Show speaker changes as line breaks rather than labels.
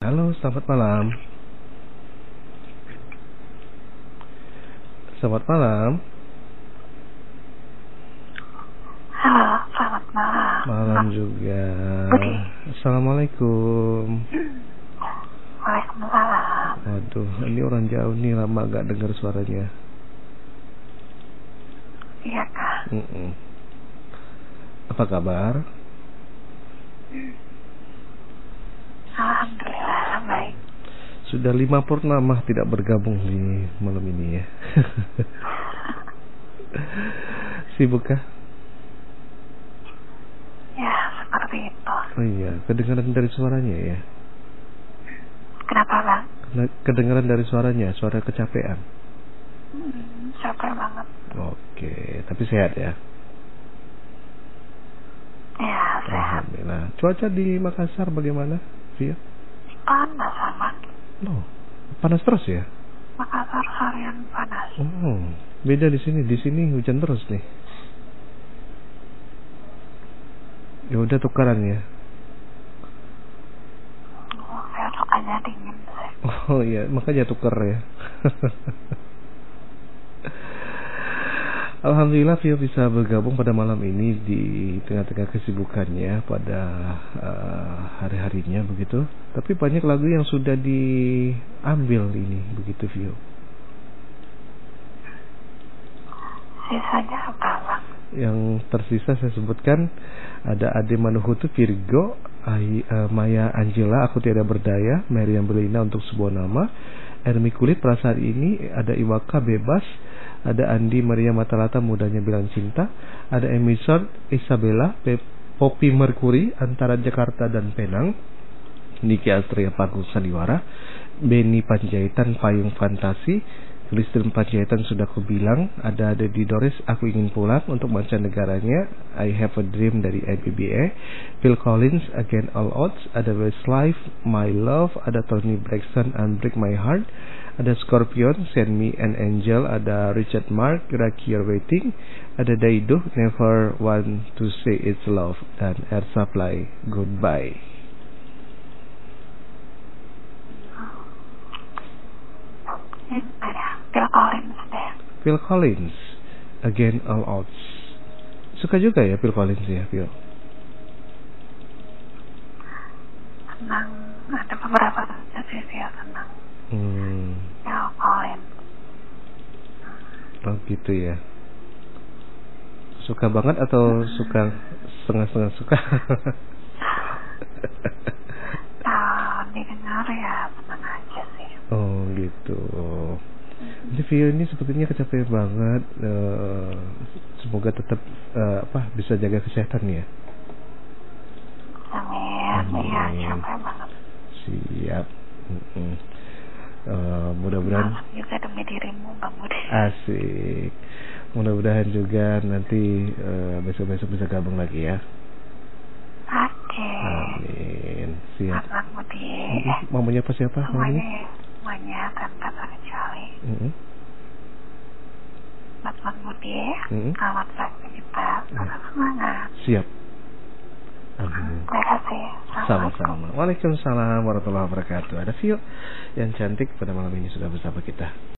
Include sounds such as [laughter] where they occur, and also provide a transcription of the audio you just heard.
Halo, selamat malam. Selamat malam.
Halo, selamat malam.
Malam juga.
Budi.
Assalamualaikum.
Waalaikumsalam.
Waduh, ini orang jauh nih lama gak dengar suaranya.
Iya kak.
Mm-mm. Apa kabar?
Alhamdulillah baik.
Sudah lima purnama tidak bergabung di malam ini ya. [laughs] Sibuk kah?
Ya seperti itu.
Oh iya, kedengaran dari suaranya ya.
Kenapa bang?
Kena- Kedengaran dari suaranya, suara kecapean.
Hmm, capek banget.
Oke, tapi sehat ya.
Ya sehat.
Alhamdulillah. Cuaca di Makassar bagaimana? Via?
Panas amat.
No. Panas terus ya?
Makassar harian panas.
Oh, beda di sini. Di sini hujan terus nih. Ya udah tukaran ya.
Oh, besokannya dingin sih.
Oh iya, makanya tuker ya. [laughs] Alhamdulillah Vio bisa bergabung pada malam ini di tengah-tengah kesibukannya pada eh, hari-harinya begitu. Tapi banyak lagu yang sudah diambil ini begitu Vio.
Sisanya apa bang?
Yang tersisa saya sebutkan ada Ade Manuhutu Virgo, Ai- eh, Maya Angela Aku Tiada Berdaya, Meriam Berlina untuk sebuah nama, Ermi Kulit Perasaan Ini, ada Iwaka Bebas, ada Andi Maria Matalata Mudanya Bilang Cinta, ada Emisor Isabella, Pe- Poppy Mercury antara Jakarta dan Penang, Niki Astria Panggung Sandiwara, Benny Panjaitan Payung Fantasi, Kristen Panjaitan sudah aku bilang, ada Dedi Doris Aku Ingin Pulang untuk mancanegaranya, I Have a Dream dari IBBA, Phil Collins Again All Odds, ada Westlife My Love, ada Tony Braxton Unbreak My Heart, ada Scorpion Send Me an Angel, ada Richard Mark Rocky Your Waiting, ada Daido Never Want to Say It's Love, dan Air Supply Goodbye.
Ini ada Bill Collins deh.
Phil Collins Again All Odds suka juga ya Phil Collins ya Phil
Senang. Ada beberapa saja sih dia senang. Ya,
hmm,
Bill Collins.
oh gitu ya suka banget atau suka setengah-setengah suka
Kalau eh, didengar ya senang aja sih.
oh gitu ini Phil ini sepertinya kecapean banget Eh, semoga tetap eh, apa bisa jaga kesehatan ya
Amin. Iya
Amin.
capek banget.
siap Mm-mm. Eh, mudah-mudahan Ah.
Malam juga demi dirimu Bang Budi.
Asik. Mudah-mudahan juga nanti eh, besok-besok bisa gabung lagi ya.
Oke.
Amin. Siap.
Bang Budi.
Mm-mm. Mamanya apa siapa?
Semuanya,
Mamanya?
semuanya tanpa terkecuali.
Mm-mm.
Buat Bang Budi,
Mm-mm.
selamat pagi kita.
Ah.
Selamat semangat.
Siap. Amin.
Terima kasih. Assalamualaikum.
Sama-sama. Waalaikumsalam warahmatullahi wabarakatuh. Ada Vio yang cantik pada malam ini sudah bersama kita.